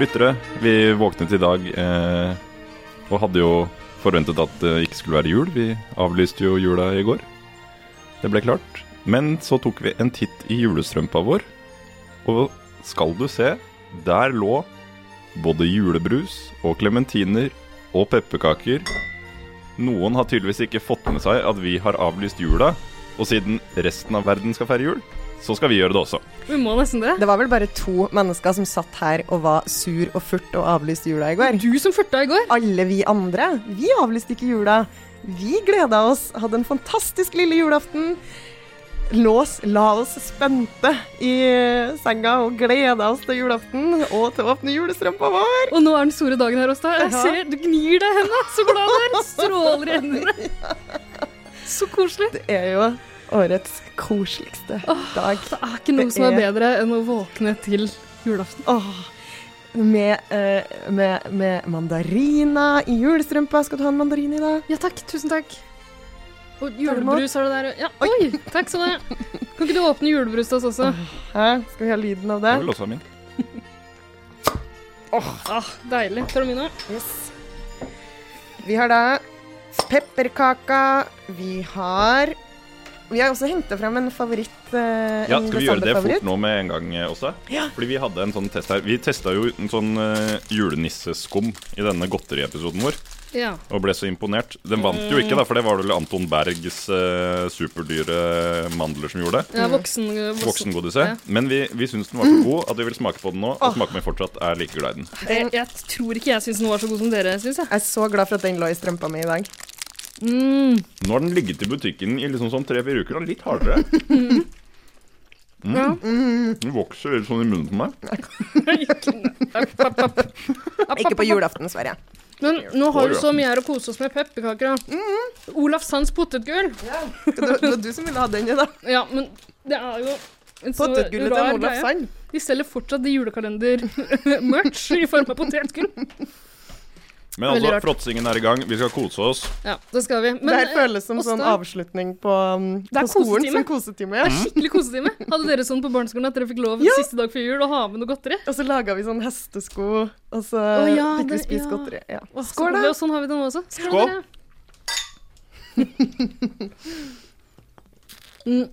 lyttere. Vi våknet i dag eh, og hadde jo forventet at det ikke skulle være jul. Vi avlyste jo jula i går. Det ble klart. Men så tok vi en titt i julestrømpa vår, og skal du se, der lå både julebrus og klementiner og pepperkaker. Noen har tydeligvis ikke fått med seg at vi har avlyst jula, og siden resten av verden skal feire jul, så skal vi gjøre det også. Vi må nesten det. Det var vel bare to mennesker som satt her og var sur og furt og avlyste jula i går. Du som furta i går. Alle vi andre, vi avlyste ikke jula. Vi gleda oss, hadde en fantastisk lille julaften. Lås, la oss spente i senga og gleda oss til julaften og til å åpne julestrømpa vår. Og nå er den store dagen her, Åsta. Jeg Ja. ser du gnir deg i hendene. Så glad du er. Stråler i hendene. Så koselig. Det er jo årets koseligste dag. Det er ikke noe Det som er er- bedre enn å våkne til julaften. Åh, med, eh, med, med mandariner i julestrømpa. Skal du ha en mandarin i dag? Ja takk, tusen takk. Og du imot? julebrus er det der. Ja, oi, takk skal du ha. Kan ikke du åpne julebrus til oss også? Hæ? Skal vi ha lyden av det? Det vil også være min. Ah, deilig. Tar du min nå? Yes. Vi har da pepperkaka. Vi har Vi har også henta frem en favoritt. eh, Ja, en skal vi gjøre det desemberfavoritt. fort nå med en gang eh, også? Ja. Fordi vi hadde en sånn test her. Vi testa jo en sånn eh, julenisseskum i denne godteriepisoden vår, Ja. og ble så imponert. Den vant jo ikke, da, for det var vel Anton Bergs eh, superdyre eh, mandler som gjorde det. ja voksen, eh, voksen. Ja. Voksengodiset. Men vi, vi syns den var så god at vi vil smake på den nå, og smaker vi fortsatt er like glad i den. Jeg, jeg tror ikke jeg syns den var så god som dere syns. jeg. Jeg er så glad for at den lå i strømpa mi i dag. Mm. Nå har den ligget i butikken i liksom sånn tre-fire uker, og litt hardere. Mm, Ja. Mhm. Den vokser litt sånn i munnen på meg. Ikke på julaften, Sverre. Men nå har vi Går, ja. så mye her å kose oss med pepperkaker. da. Mm-hmm. Olaf Sands potetgull. Det var det var du som ville ha den i dag. Ja, men det er jo en så rar Potetgullet til Olaf greie. Sand. De selger fortsatt julekalender-merch i form av potetgull. Men Veldig altså, rart. fråtsingen er i gang. Vi skal kose oss. Ja, det skal vi. Men Det her eh, føles som Åsta, sånn avslutning på, um, Det er Mm. på skolen. kosetime. Som kosetime. det ja. er skikkelig kosetime. Hadde dere sånn på barneskolen at dere fikk lov Ja. siste dag før jul å ha med noe godteri? Og så laga vi sånn hestesko, og så Å, ja, fikk vi det- spise ja. godteri. Ja. Å, så Skål, koselig, da. Og sånn har vi det nå også. Skål, Skål. dere. Mm.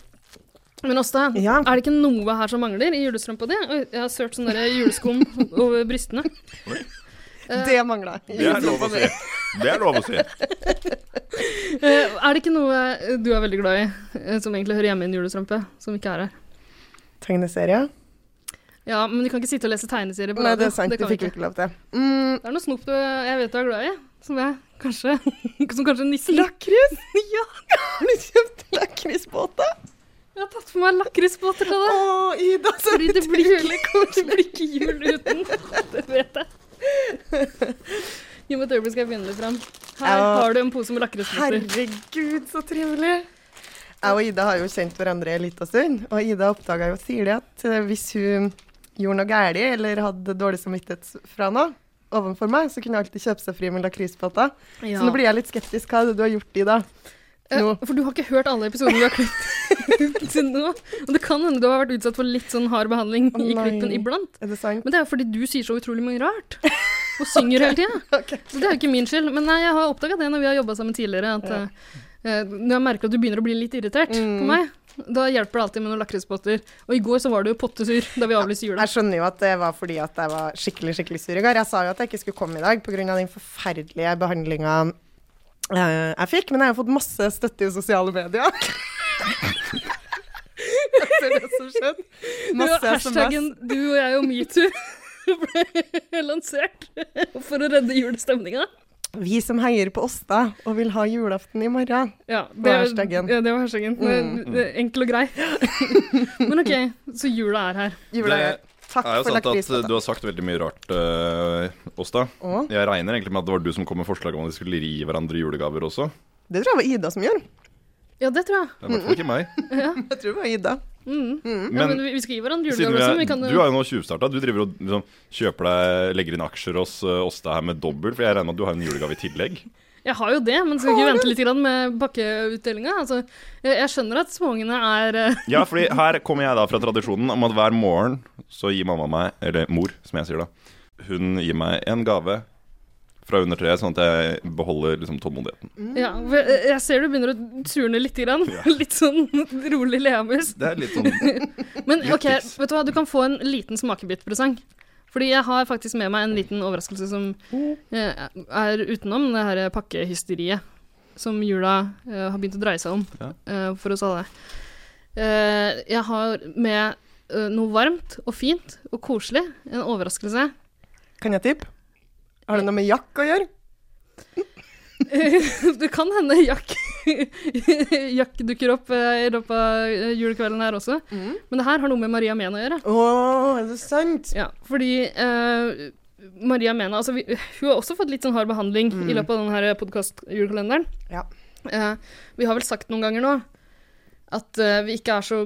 Men Åsta, Ja. er det ikke noe her som mangler i julestrømpa di? Oi, Jeg har sølt sånn der juleskum over brystene. Eh, Det mangla. Det er lov å si. Det er lov å si. Eh, er det ikke noe eh, du er veldig glad i, eh, som egentlig hører hjemme i en julestrømpe, som ikke er her? Tegneserie? Ja, men vi kan ikke sitte og lese tegneserier på Nei, det radio. er sant. Det kan fikk vi ikke. ikke lov til. Mm, Det er noe snop du jeg vet du er glad i, som jeg kanskje Som kanskje nissen Lakris? Ja! Har du kjøpt lakrisbåter? Jeg har tatt på meg lakrisbåter til Å, deg. Ida, så Fordi det blir, utrolig det blir ikke jul uten. Det vet jeg. Gi meg et øyeblikk, skal jeg begynne litt fram. Her Ja. har du en pose med lakrisbåter. Herregud, så trivelig. Jeg og Ida har jo kjent hverandre en liten stund, og Ida oppdaga jo tidlig at eh, hvis hun gjorde noe galt eller hadde dårlig samvittighet fra noe overfor meg, så kunne hun alltid kjøpe seg fri med lakrisbåter. Så nå blir jeg litt skeptisk. Hva er det du har gjort, Ida? Eh, Nå. For du har ikke hørt alle episodene vi har klippet til nå. Og det kan hende du har vært utsatt for litt sånn hard behandling Å, i nei. klippen iblant. Er det sant? Men det er jo fordi du sier så utrolig mye rart. Og synger hele tida. Ok. Så det er jo ikke min skyld. Men nei, jeg har oppdaga det når vi har jobba sammen tidligere, at Ja. eh, når jeg merker at du begynner å bli litt irritert på Mm. meg, da hjelper det alltid med noen lakrisbåter. Og i går så var du jo pottesur da vi avlyste jula. Jeg skjønner jo at det var fordi at jeg var skikkelig skikkelig sur i går. Jeg sa jo at jeg ikke skulle komme i dag pga. den forferdelige behandlinga jeg fikk. Men jeg har jo fått masse støtte i sosiale medier. Det er det som skjedde. Du har Masse SMS. hashtaggen 'du og jeg og metoo' ble lansert for å redde julestemninga. Vi som heier på Åsta og vil ha julaften i morgen. Ja, det, var hashtaggen. Ja, det var hashtaggen. Mm, Det- det- Enkel og grei. Men OK, så jula er her. Jula Det Takk Det er jo sant for at eh, lakrisbåten. du har sagt veldig mye rart, eh, Åsta. Å, Jeg regner egentlig med at det var du som kom med forslaget om at de skulle gi hverandre julegaver også. Det tror jeg var Ida som gjorde. Ja, det tror jeg. Det er i hvert fall ikke meg. Jeg tror det var Ida. Mm. Mm. ja, Men men vi, vi skal gi hverandre siden julegaver vi også. men er, Vi kan, du har jo nå tjuvstarta. Du driver og liksom, kjøper deg, legger inn aksjer hos eh, Åsta her med dobbel, for jeg regner med at du har en julegave i tillegg. Jeg har jo det, men skal vi ikke vente litt grann med pakkeutdelinga? Altså, jeg, jeg skjønner at småungene er eh, Ja, fordi her kommer jeg da fra tradisjonen om at hver morgen så gir mamma meg, eller mor som jeg sier da, hun gir meg en gave fra under treet, sånn at jeg beholder liksom, tålmodigheten. Ja, for jeg jeg ser du begynner å turne litt. Grann. Ja. Litt sånn rolig leamus. Det er litt sånn Men Litt ok, tips. vet du hva, du kan få en liten smakebitpresang. Fordi jeg har faktisk med meg en liten overraskelse som eh, er utenom det her pakkehysteriet som jula eh, har begynt å dreie seg om Ja. eh, for oss alle. Eh, jeg har med eh, noe varmt og fint og koselig, en overraskelse. Kan jeg tippe? Har det noe med jakk å gjøre? det kan hende Jack, Jack dukker opp eh, i løpet av eh, julekvelden her også, men det her har noe med Maria Mena å gjøre. Å, er det sant? Ja, fordi eh, Maria Mena altså, vi, Hun har også fått litt sånn hard behandling i løpet av denne podkast-julekalenderen. Ja. Eh, vi har vel sagt noen ganger nå at eh, vi ikke er så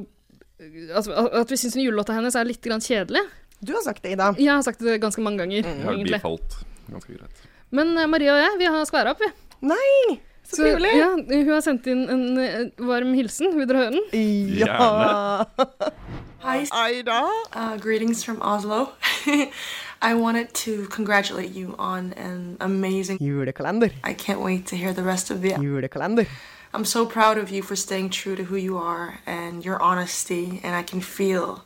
Altså, at vi syns julelåta hennes er litt grann kjedelig. Du har sagt det, Ida. Jeg har sagt det ganske mange ganger. Jeg har egentlig. bifalt ganske greit. Men eh, Maria og jeg vi har skværa opp, vi. Nei! Så, trivelig. ja, hun har sendt inn en eh, varm hilsen. Vil dere høre den? Ja. Hi, Ida. uh, greetings from Oslo. I wanted to congratulate you on an amazing. Julekalender. I can't wait to hear the rest of the. Julekalender. I'm so proud of you for staying true to who you are and your honesty, and I can feel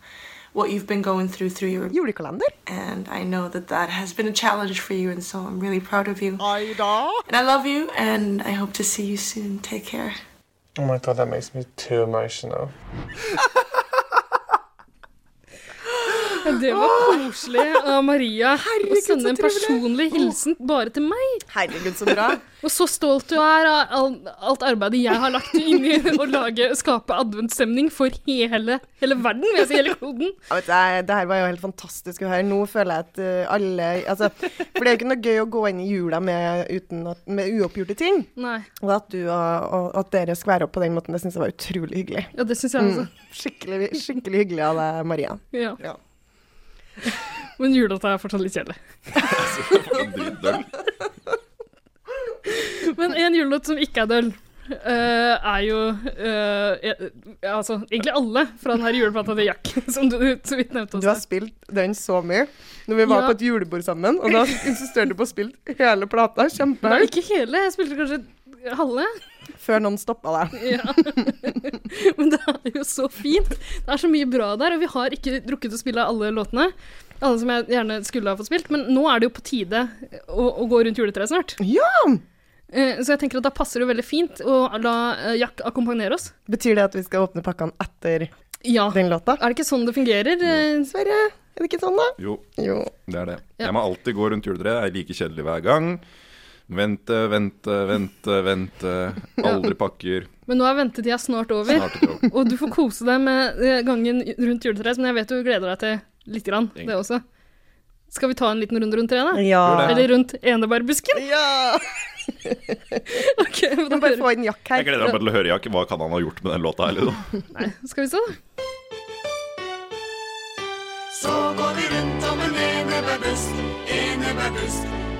what you've been going through through your. Julekalender. And I know that that has been a challenge for you, and so I'm really proud of you. Ida. And I love you, and I hope to see you soon. Take care. Oh my god, that makes me too emotional. Det var koselig av Maria å Herregud, så sende en personlig hilsen bare til meg. Herregud, så bra. Og så stolt du er av all- alt arbeidet jeg har lagt inn i å lage, skape adventsstemning for hele, hele verden, vil jeg si, hele kloden. Ja, vet du, jeg- det her var jo helt fantastisk å høre. Nå føler jeg at eh, alle altså, For det er jo ikke noe gøy å gå inn i jula med, uten at, med uoppgjorte ting. Nei, Og at, du, og, og at dere skværer opp på den måten, det syns jeg var utrolig hyggelig. ja, det syns jeg også. Skikkelig, skikkelig hyggelig av deg, Maria. Ja. Ja. Men julata er fortsatt litt kjedelig. Dritdøll. Men en julelåt som ikke er døll, eh, er jo eh, eh, altså, egentlig alle fra den her juleplata til Jack, som du så vidt nevnte Du har også. spilt den så mye. Når vi var Ja. på et julebord sammen, og da insisterte du på å spille hele plata Nei, kjempehøyt, ikke hele. Jeg spilte kanskje halve. før noen stoppa deg. Ja. Men det er jo så fint. Det er så mye bra der, og vi har ikke drukket å spille alle låtene. Alle som jeg gjerne skulle ha fått spilt, men nå er det jo på tide å, å gå rundt juletreet snart. Ja! Eh, Så jeg tenker at da passer det jo veldig fint å la eh, Jack akkompagnere oss. Betyr det at vi skal åpne pakkene etter Ja. Er den låta? det ikke sånn det fungerer? Eh, Sverre, er det ikke sånn, da? Jo, Jo. det er det. Ja. Jeg må alltid gå rundt juletreet. Jeg er like kjedelig hver gang. Vente, vente, vente, vente. Aldri pakker. Men nå er ventetida snart over, Snart et år. og du får kose deg med eh, gangen rundt juletreet, men jeg vet du gleder deg til lite grann, det også. Skal vi ta en liten runde rundt treet, da? Ja. Gjør Eller rundt enebærbusken? ja. Ok, men da Bare hører- få inn Jack Jeg her. gleder meg bare til å høre, Jack. Hva kan han ha gjort med den låta? liksom? Eller noe? Nei, skal vi se, da. Så går vi rundt om en enebærbusk, enebærbusk,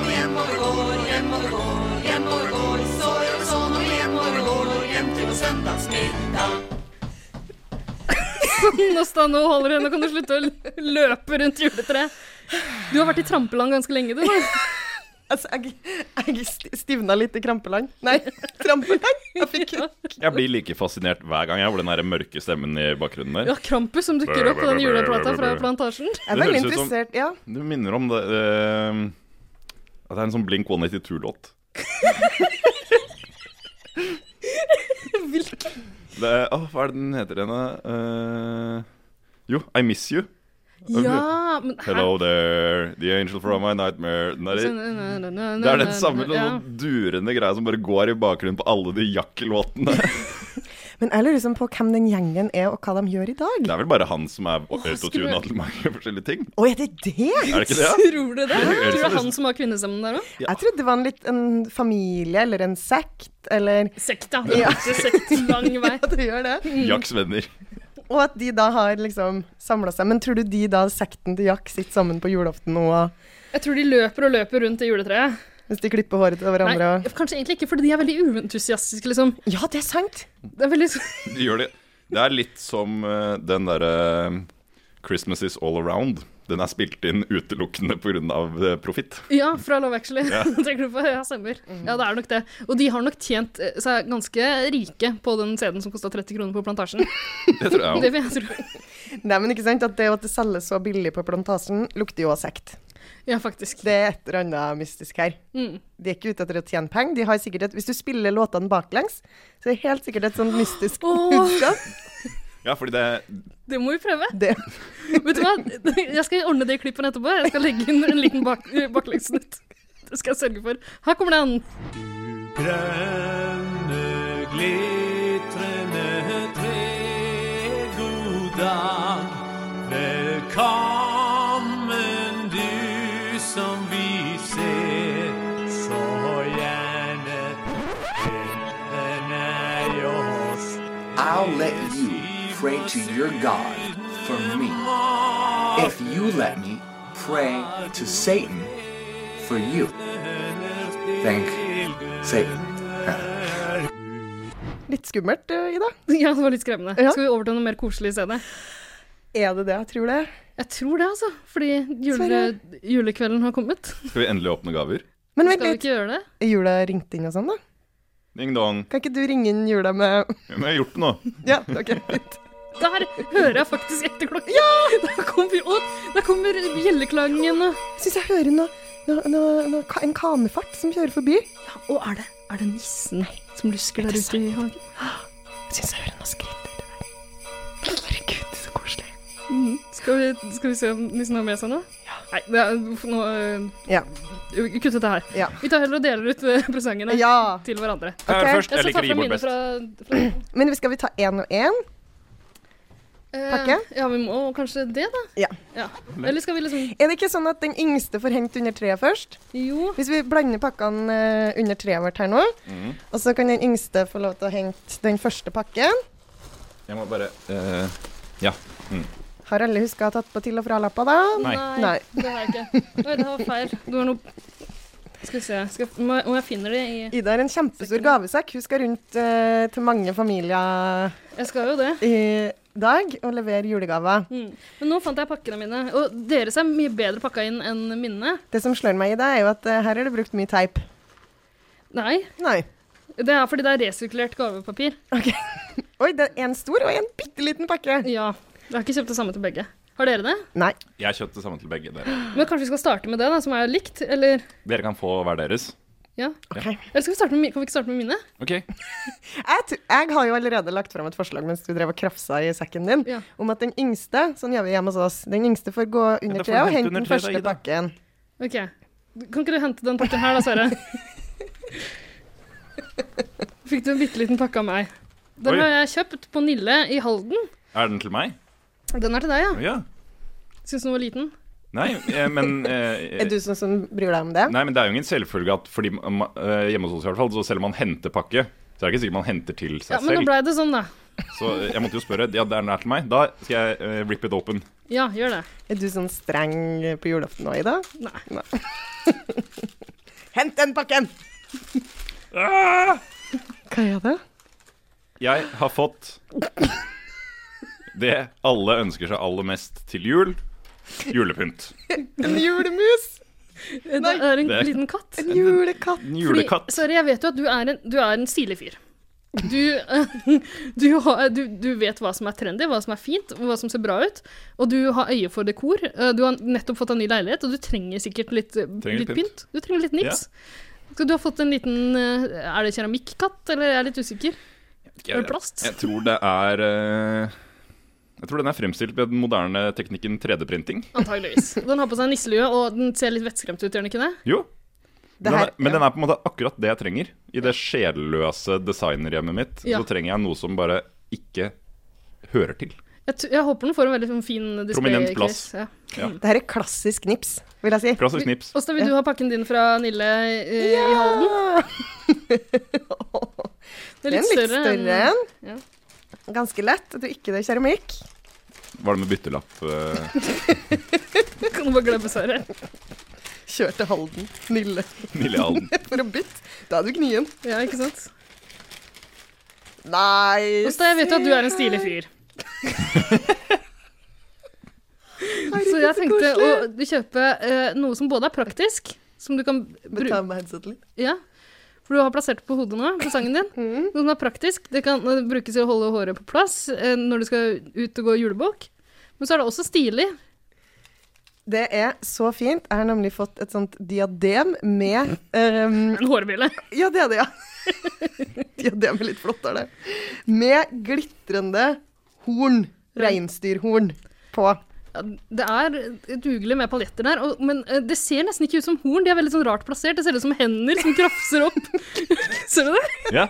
om hjemover går, hjemover går, hjemover går. Så gjør vi sånn om hjemover går, hjem til på søndagsmiddag. Nåsta, nå holder det. Nå kan du slutte å l- løpe rundt juletreet. Du har vært i trampeland ganske lenge, du. Altså, jeg, jeg sti- stivna litt i krampeland. Nei, trampeland. Jeg fikk Ja. Jeg blir like fascinert hver gang jeg over den der mørke stemmen i bakgrunnen der. Ja, Krampus som dukker opp på den juleplata fra Plantasjen. Jeg er Det veldig høres ut som- interessert. Ja. Du minner om det eh, At det er en sånn Blink 182-låt. Hvilken Det er, åh, hva er det den heter henne? Eh, jo, I Miss You. Ja, men hæ? Altså, Hello there, the angel from my nightmare. Den Så- er, na, na, na, na, det er na, den samme na, ja. sånn durende greia som bare går i bakgrunnen på alle de Jack-låtene. Men jeg lurer liksom på hvem den gjengen er, og hva de gjør i dag. Det er vel bare han som er skulle- autotuna til mange forskjellige ting? Å, er det det? Er det ikke det? ja? Tror du det? høres Tror du det er nesten- han som har kvinnestemmen der òg? Ja. Jeg trodde det var en, litt, en familie eller en sekt eller Sekta. Det Ja. er ikke sekt lang vei. Ja, det gjør det. Mm. Jacks venner. Og at de da har liksom samla seg. Men tror du de da, sekten til Jack, sitter sammen på julaften og Jeg tror de løper og løper rundt det juletreet. Hvis de klipper håret til Nei, hverandre og kanskje egentlig ikke, fordi de er veldig uentusiastiske, liksom. Ja, det er sant! Det er veldig De gjør det. Det er litt som eh, den derre eh, 'Christmas is all around'. Den er spilt inn utelukkende pga. eh, profitt. Ja, fra Love Actually. Tenker du på? Ja, stemmer. Mhm. Ja, det er nok det. Og de har nok tjent eh, seg ganske rike på den CD-en som kosta 30 kroner på Plantasjen. Det tror jeg òg. Det vil jeg tro. Nei, men ikke sant at det at det selges så billig på plantasjen, lukter jo av sekt. Ja, faktisk. Det er et eller annet mystisk her. Mm. De er ikke ute etter å tjene penger. De har sikkert et Hvis du spiller låtene baklengs, så er det helt sikkert et sånt mystisk Åh. budskap. Ja, fordi det Det må vi prøve. Det, Vet du hva? Jeg skal ordne det i klippen etterpå. Jeg skal legge inn en liten bak bakleggssnutt. Det skal jeg sørge for. Her kommer den. Grønne, glitrende tre, god dag. Velkommen du som vi ser så gjerne. Den er jo hos I'll let you pray to your God for me. If you let me pray to Satan for you. Thank Satan. litt skummelt, eh, Ida. Ja, det var litt skremmende. Ja. Skal vi over til noe mer koselig i stedet? Er det det? Jeg tror det. Jeg tror det, altså. Fordi jule, Sverre. julekvelden har kommet. Skal vi endelig åpne gaver? Men Skal vent vi litt. ikke gjøre det? Er jula ringt inn og sånn, da? Ding dong. Kan ikke du ringe inn jula med Men jeg har gjort det nå. Ja, OK. fint. Der hører jeg faktisk etter klokken. Ja! Der kommer, å, der kommer bjelleklangen. og- Jeg syns jeg hører noe, noe, noe, noe ka- En kanefart som kjører forbi. Jeg Å, er det, er det nissen som lusker der ute i hagen? syns jeg hører noe skritt der. Herregud, så koselig. Skal vi, skal vi se om nissen har med seg noe? Ja. Nei, det er, nå øh, Ja. Kutt ut det her. Ja. Vi tar heller og deler ut øh, presangene Ja. til hverandre. Jeg er Ok. først. Jeg skal ta liker å gi fram bort mine best. fra- fra- Men skal vi ta én og én? Eh, Pakke? Ja, vi må kanskje det, da. Ja. Eller skal vi liksom Er det ikke sånn at den yngste får hengt under treet først? Jo. Hvis vi blander pakkene eh, under treet vårt her nå, og så kan den yngste få lov til å hente den første pakken. Jeg må bare eh, Ja. Har alle huska å ha tatt på til- og fralappa, da? Nei. Nei. Det har jeg ikke. Oi, det var feil. Du har noe Skal vi se. Skal, må, jeg- om jeg finner det i Ida har en kjempestor gavesekk. Hun skal rundt eh, til mange familier Jeg skal jo det. i dag og levere julegaver. Mm. Men nå fant jeg pakkene mine. Og deres er mye bedre pakka inn enn mine. Det som slår meg i det, er jo at eh, her er det brukt mye teip. Nei. Nei. Det er fordi det er resirkulert gavepapir. Oi, det er en stor og en bitte liten pakke. Ja. Jeg har ikke kjøpt det samme til begge. Har dere det? Nei. Jeg kjøpte det samme til begge dere. Men kanskje vi skal starte med det, da, som er likt? Eller Dere kan få hver deres. ja. OK. Eller skal vi starte med, mi- kan vi ikke starte med mine? Ok. Jeg, tr- jeg har jo allerede lagt fram et forslag mens du drev og krafsa i sekken din, Ja. om at den yngste sånn gjør vi hjemme hos oss, den yngste får gå Ja, da under får du treet og hente hente under den treet, da, første Ida. pakken. OK. Kan ikke du hente den pakken her, da, Sverre? Fikk du en bitte liten pakke av meg. Den Oi. har jeg kjøpt på Nille i Halden. Er den til meg? Den er til deg, ja. Ja. Syns den var liten. Nei, eh, men eh, Er du sånn som bryr deg om det? Nei, men det er jo ingen selvfølge at fordi ma- eh, hjemme hos oss i hvert fall, så selv om man henter pakke, så er det ikke sikkert man henter til seg Ja, Men nå selv. blei det sånn, da. Så eh, jeg måtte jo spørre. Ja, det er nær til meg. Da skal jeg eh, rip it open. Ja, gjør det. Er du sånn streng på julaften nå, Ida? Nei. Hent den pakken! Hva er det? Jeg har fått det alle ønsker seg aller mest til jul. Julepynt. En julemus! det er en Det er- liten katt. En julekatt. En Fordi, julekatt. Sverre, jeg vet jo at du er en, du er en stilig fyr. Du, du, har, du, du vet hva som er trendy, hva som er fint, hva som ser bra ut. Og du har øye for dekor. Eh, Du har nettopp fått en ny leilighet, og du trenger sikkert litt, eh, Trenger litt litt pynt. Du trenger litt nips. Så du har fått en liten eh, Er det keramikkatt, eller jeg er litt usikker? Er det plast? Jeg, jeg tror det er eh, Jeg tror den er fremstilt ved den moderne teknikken 3D-printing. Antageligvis. Den har på seg nisselue, og den ser litt vettskremt ut, gjør den ikke det? Jo. Men Det den, her- er, men den er på en måte akkurat det jeg trenger. I det sjelløse designerhjemmet mitt Ja. så trenger jeg noe som bare ikke hører til. Jeg, t jeg håper den får en veldig sånn fin display. Prominent plass. case, Ja. Det her er klassisk knips, vil jeg si. Klassisk snips. Åsta, vil du ha pakken din fra Nille eh, i Halden? Det Den er enn- litt større enn. ja. Ganske lett. Jeg tror ikke det er keramikk. Var det med byttelapp? eh, Kan du bare glemme svaret. Kjør til Halden, Nille, Nille Halden. for å bytte. Da er du gnien. Ja, ikke sant? Nei Åsta, jeg vet jo at du er en stilig fyr. Så jeg tenkte å kjøpe eh, noe som både er praktisk, som du kan Men bruke ta med headsetet litt. Ja. For du har plassert det på hodet nå, på sangen din. Noe som er praktisk. Det kan eh, brukes til å holde håret på plass eh, når du skal ut og gå julebukk. Men så er det også stilig. Det er så fint. Jeg har nemlig fått et sånt diadem med ehm, En hårbille. Ja, det er det, ja. diadem er litt flottere. Med glitrende horn. Reinsdyrhorn på. Ja, det er dugelig med paljetter der, og, men eh, det ser nesten ikke ut som horn. De er veldig sånn rart plassert. Det ser ut som hender som krafser opp. ser du det? Ja.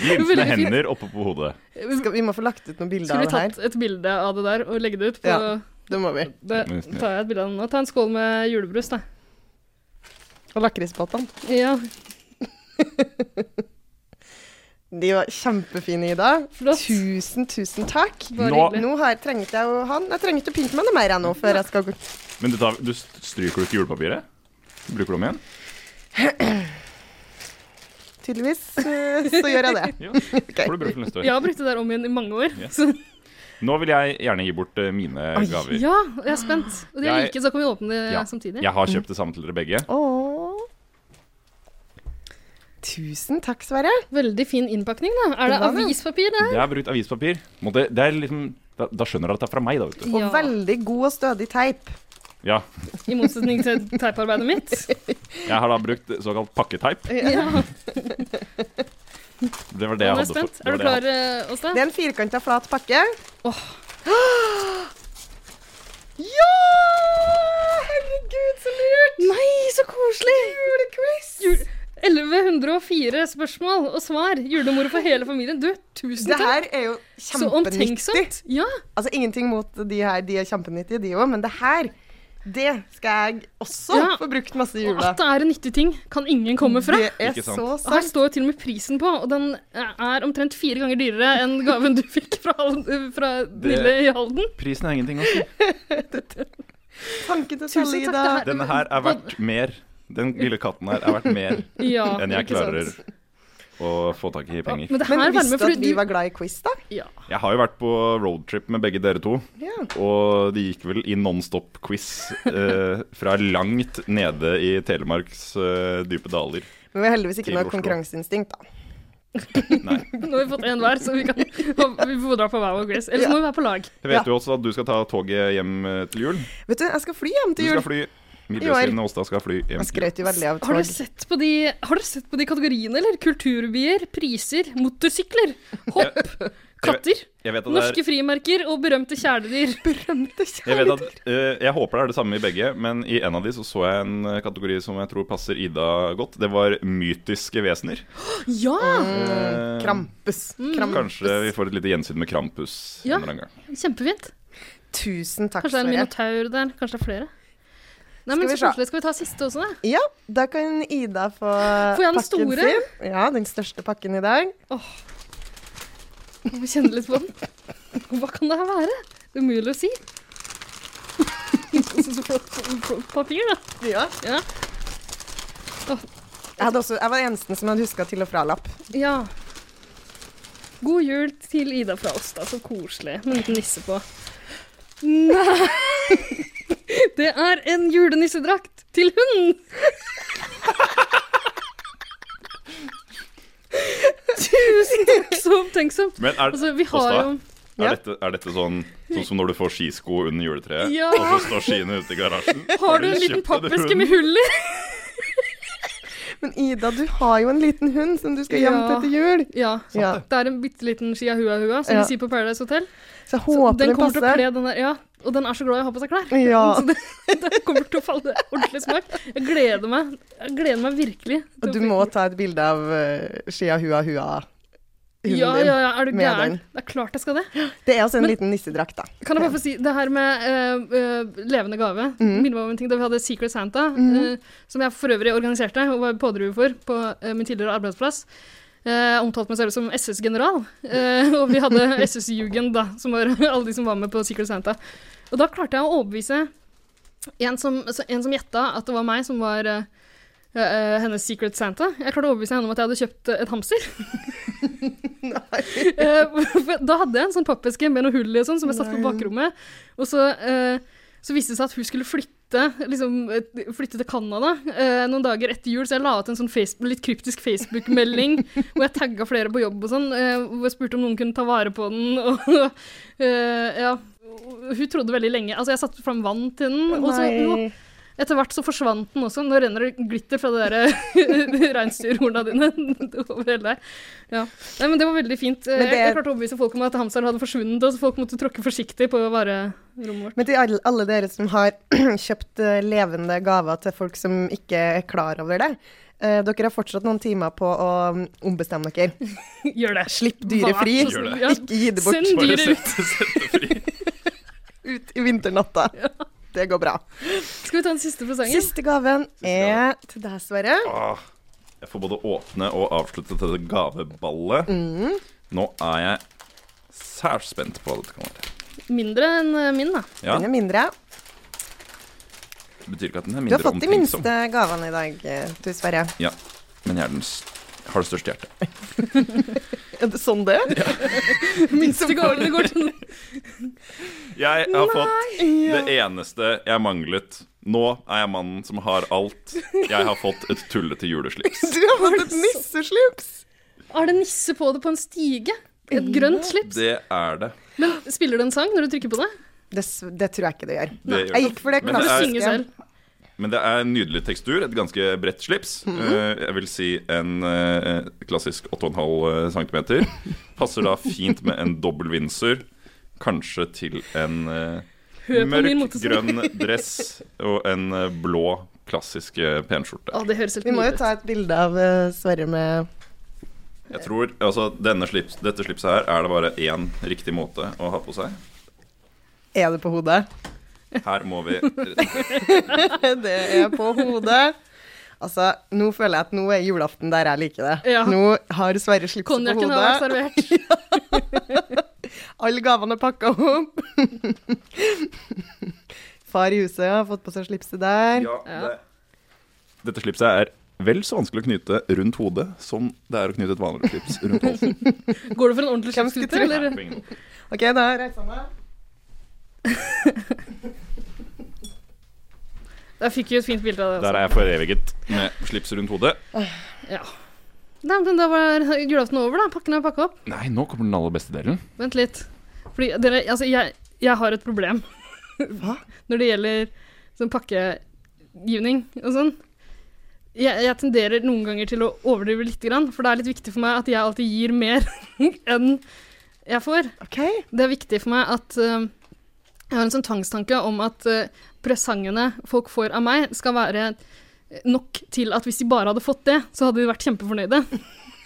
Veldig Glinsende fint. hender oppe på hodet. Skal, vi må få lagt ut noen bilder Skulle av vi det her. tatt et bilde av det der og legge det ut på Ja. Det må vi. det, Tar jeg et bilde av den nå? Ta en skål med julebrus, da. Og lakrispottene. Ja, De var kjempefine, Ida. Flott. Tusen, tusen takk. bare Nå- hyggelig. Nå har, trengte jeg jo han. Jeg trenger ikke å pynte meg noe mer jeg nå før jeg skal gå. Men du, tar, du stryker jo ikke julepapiret? Du Bruker det om igjen? Tydeligvis eh, så gjør jeg det. Ja. Ok. Får du brød for neste år. Jeg har brukt det der om igjen i mange år. Ja. Så, Nå vil jeg gjerne gi bort eh, mine gaver. ja, jeg er spent. Og de er Jeg- like, så kan vi åpne det Ja. samtidig. Mm. Jeg har kjøpt det samme til dere begge. Åh. Tusen takk, Sverre. Veldig fin innpakning, da. Er det Det var det. avispapir det her? Jeg har brukt avispapir. Måtte, det er liksom, da, da skjønner dere at det er fra meg, da. vet du. Og veldig god og stødig teip. Ja, I motsetning til teiparbeidet mitt. Jeg har da brukt såkalt pakketeip. Ja, Det var det Nå jeg er jeg hadde spent. fått. Er du klar, eh, Åsta? Det er en firkanta, flat pakke. Åh. Ja! Herregud, så lurt! Nei, så koselig! Julequiz! Jul 1104 spørsmål og svar. Julemoro for hele familien. Du, tusen Det takk. her er jo Så kjempenyttig. omtenksomt. Ja, Altså, ingenting mot de her, de er kjempenyttige, de òg, men det her, det skal jeg også Ja. få brukt masse i og jula. at det er en nyttig ting, kan ingen komme fra. Det er Ikke sant? så Her sant. står jo til og med prisen på, og den eh, er omtrent fire ganger dyrere enn gaven du fikk fra, Hal- fra Nille i Halden. Prisen er ingenting altså. å si. Tanken til Tusen Sally, takk, da. det her Denne her er verdt mer. Den lille katten her er verdt mer ja, enn jeg ikke klarer sant? å få tak i Ja, penger. men det her Men varmer, visste du fordi at vi du- var glad i quiz, da? ja. Jeg har jo vært på roadtrip med begge dere to, Ja. og de gikk vel i nonstop-quiz eh, fra langt nede i Telemarks eh, dype daler. Men vi har heldigvis ikke Til noe Oslo. konkurranseinstinkt, da. Nei. Nå har vi fått én hver, så vi, kan, vi får dra på hver vår quiz. Ellers Ja. må vi være på lag. Jeg vet jo også at du skal ta toget hjem eh, til jul. Vet du, jeg skal fly hjem Du til skal jul. fly. I år. Midjøsiden og Åsta skal fly hjem. Jeg skrøt jo veldig av Har du, tog. sett på de, har dere sett på de kategoriene, eller? Kulturbier, priser, motorsykler, hopp, katter, Jeg vet at det er norske frimerker og berømte kjæledyr. Berømte Jeg vet kjærlighet. at, eh, jeg håper det er det samme i begge, men i en av de så, så jeg en eh, kategori som jeg tror passer Ida godt. Det var mytiske vesener. Ja! Eh, Krampus. Mm. Krampus. Kanskje vi får et lite gjensyn med Krampus Ja. en eller annen gang. Kjempefint. Tusen takk, Kanskje det er en Sverre. minotaur der. Kanskje det er flere. Nei, men Skal vi så se. koselig. Skal vi ta siste også, da? Ja, da kan Ida få Får jeg den pakken store? sin. Ja, den største pakken i dag. Må kjenne litt på den. Hva kan det her være? Det er umulig å si. Så flott flott papir, da. Ja. Ja. Jeg, hadde også, jeg var den eneste som hadde huska til og fra-lapp. ja. God jul til Ida fra oss, da. Så koselig. Med en liten nisse på. Nei! Det er en julenissedrakt til hunden! Tusen takk, så omtenksom. Men er, Altså, vi har Åsta, jo Ja. er dette, er dette sånn, sånn som når du får skisko under juletreet, Ja. og så står skiene ute i garasjen? Har du en liten kjøpt denne pappeske hunden? med hull i? Men Ida, du har jo en liten hund som du skal hjem Ja. til etter jul. Ja. Ja. Det er en bitte liten chihuahua, som Ja. de sier på Paradise Hotel. Så jeg Så håper den den kommer til å passer. kle den der, ja. Og den er så glad i å ha på seg klær. Ja. Så det, det kommer til å falle ordentlig smak. Jeg gleder meg. Jeg gleder meg virkelig. til Og du å- må ta et bilde av uh, Shia Hua Hua-hunden ja, din. ja, ja, er du med gæren? den. Det er klart jeg skal det. Det er altså en Men- liten nissedrakt, da. Kan jeg bare få si det her med eh, eh, levende gave? Minner meg om en ting da vi hadde Secret Santa, eh, som jeg for øvrig organiserte og var pådriver for på eh, min tidligere arbeidsplass. Eh, Jeg omtalte meg selv som SS-general, eh, og vi hadde SS-jugend, da, som var alle de som var med på Secret Santa. Og da klarte jeg å overbevise en som, så- en som gjetta at det var meg som var eh, eh, hennes Secret Santa. Jeg klarte å overbevise henne om at jeg hadde kjøpt eh, et hamster. Eh, for da hadde jeg en sånn pappeske med noe hull i og sånn, som jeg satt på bakrommet. Og så, eh, så viste det seg at hun skulle flytte, liksom, eh, flytte til Canada eh, noen dager etter jul, så jeg la ut en sånn face- litt kryptisk Facebook-melding hvor jeg tagga flere på jobb og sånn, eh, hvor jeg spurte om noen kunne ta vare på den. Og, eh, ja. Hun trodde veldig lenge Altså, jeg satte fram vann til den, Mm, og altså, så jo, etter hvert så forsvant den også. Nå renner det glitter fra det der reinsdyrhorna dine over hele deg. Ja. Nei, men det var veldig fint. Eh, Men det- Jeg, jeg klarte å overbevise folk om at hamsteren hadde forsvunnet, og så folk måtte tråkke forsiktig på varerommet vårt. Men til alle, alle dere som har kjøpt eh, levende gaver til folk som ikke er klar over det, eh, dere har fortsatt noen timer på å mm, ombestemme dere. Gjør det. Slipp dyret Vær fri. så snill. Ja. Ikke gi det bort Send Bare dyret ut. sette, sette fri. ut i vinternatta. Det går bra. Skal vi ta den siste presangen? Siste gaven er til deg, Sverre. Ah, jeg får både åpne og avslutte dette gaveballet. Mm. Nå er jeg særs spent på hva dette kan være. Mindre enn eh, min, da. Ja, Den er mindre. det betyr ikke at den er Du har mindre fått de omtenksom. minste gavene i dag, eh, du, Sverre. Ja, men jeg er den s- har det største hjertet. Er det sånn det? Minste gavene går til Jeg har fått det eneste jeg manglet. Nå er jeg mannen som har alt. Jeg har fått et tullete juleslips. Du har fått et nisseslips! Er det nisse på det på en stige? Mm. Et grønt slips? Det er det. Men spiller du en sang når du trykker på det? Det, s- det tror jeg ikke det gjør. Det gjør Jeg det. gikk for det Men Du det er- synger klassiske. selv. Men det er en nydelig tekstur, et ganske bredt slips. Eh, jeg vil si en eh, klassisk 8,5 cm. eh, Passer da fint med en dobbel Windsor, kanskje til en eh, Hør på min mørk motesang. grønn dress og en eh, blå klassisk eh, penskjorte. Å, det høres helt Vi må jo nydelig ut. ta et bilde av eh, Sverre med Jeg tror, altså denne slips, Dette slipset her er det bare én riktig måte å ha på seg. Er det på hodet? Her må vi Det er på hodet. Altså, nå føler jeg at nå er julaften der jeg liker det. Ja. Nå har Sverre slipset på Konjakken har vært hodet. servert. Alle gavene er pakka opp. Far i huset har fått på seg slipset der. Ja, det. Dette slipset er vel så vanskelig å knyte rundt hodet som det er å knyte et vanlig slips rundt halsen. Går det for en ordentlig Hvem skulle slipskute, tro? Nei, eller? på ingen måte. OK, da reiser jeg meg. Jeg fikk jo et fint bilde av det. Der er jeg foreviget med slips rundt hodet. Også. Ja. Nei, men da var julaften over, da. Pakken er pakka opp. Nei, nå kommer den aller beste delen. Vent litt. Fordi dere, altså, jeg, jeg har et problem. Hva? Når det gjelder sånn pakkegivning og sånn. Jeg, jeg tenderer noen ganger til å overdrive lite grann, for det er litt viktig for meg at jeg alltid gir mer enn jeg får. OK. Det er viktig for meg at eh, jeg har en sånn tvangstanke om at eh, presangene folk får av meg, skal være nok til at hvis de bare hadde fått det, så hadde de vært kjempefornøyde.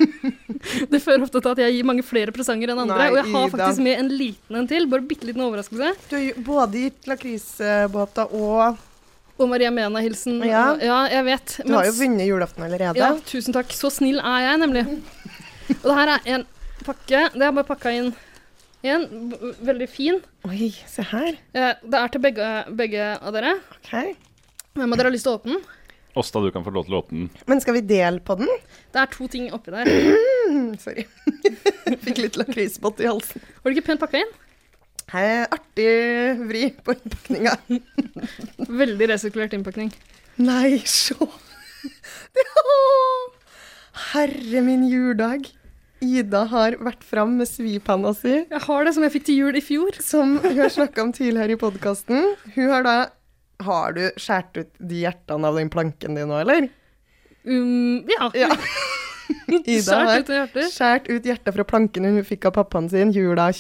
det fører ofte til at jeg gir mange flere presanger enn andre, Nei, og jeg har Ida. faktisk med en liten en til, bare bitte liten overraskelse. Du har jo både gitt lakrisbåter og Og Maria Mena-hilsen. Ja. og- ja, jeg vet. Du har men jo vunnet julaften allerede. Ja, tusen takk. Så snill er jeg, nemlig. Og det her er en pakke. Det er bare pakka inn igjen. B- Veldig fin. Oi, se her. Eh, Det er til begge, begge av dere. OK. Hvem av dere har lyst til å åpne den? Åsta, du kan få lov til å åpne den. Men skal vi dele på den? Det er to ting oppi der. Mm, Sorry. Fikk litt lakrisbåt i halsen. Var det ikke pent pakka inn? Her er Artig vri på innpakninga. Veldig resirkulert innpakning. Nei, se! Det, Åh! Herre min jurdag. Ida har vært fram med svipanna si, Jeg har det som jeg fikk til jul i fjor. som hun har snakka om tidligere i podkasten. Hun har da Har du skåret ut de hjertene av den planken din nå, eller? Um, ja. Ja. Ida Sært har ut av hjertet. skåret ut hjertet fra planken hun fikk av pappaen sin jula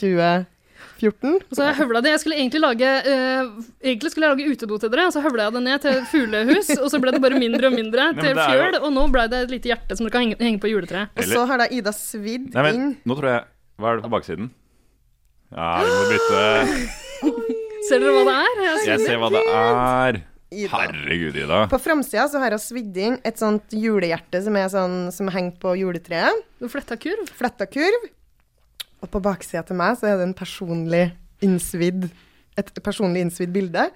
2014. Og så har jeg høvla det. Jeg skulle egentlig lage eh, Egentlig skulle jeg lage utedo til dere, og så høvla jeg det ned til et fuglehus, og så ble det bare mindre og mindre men til det er jo- fjøl, og nå ble det et lite hjerte som dere kan henge, henge på juletreet. Og så har da Ida svidd Nei, men inn nå tror jeg Hva er det på baksiden? Ja, vi må bytte. Ser dere hva det er? Jeg Jeg ser hva det er. Ida. Herregud, Ida. På framsida så har hun svidd inn et sånt julehjerte som, er sånn, som henger på juletreet. Du fletta kurv. Fletta kurv. Og på baksida til meg så er det en personlig innsvidd, et personlig innsvidd bilde.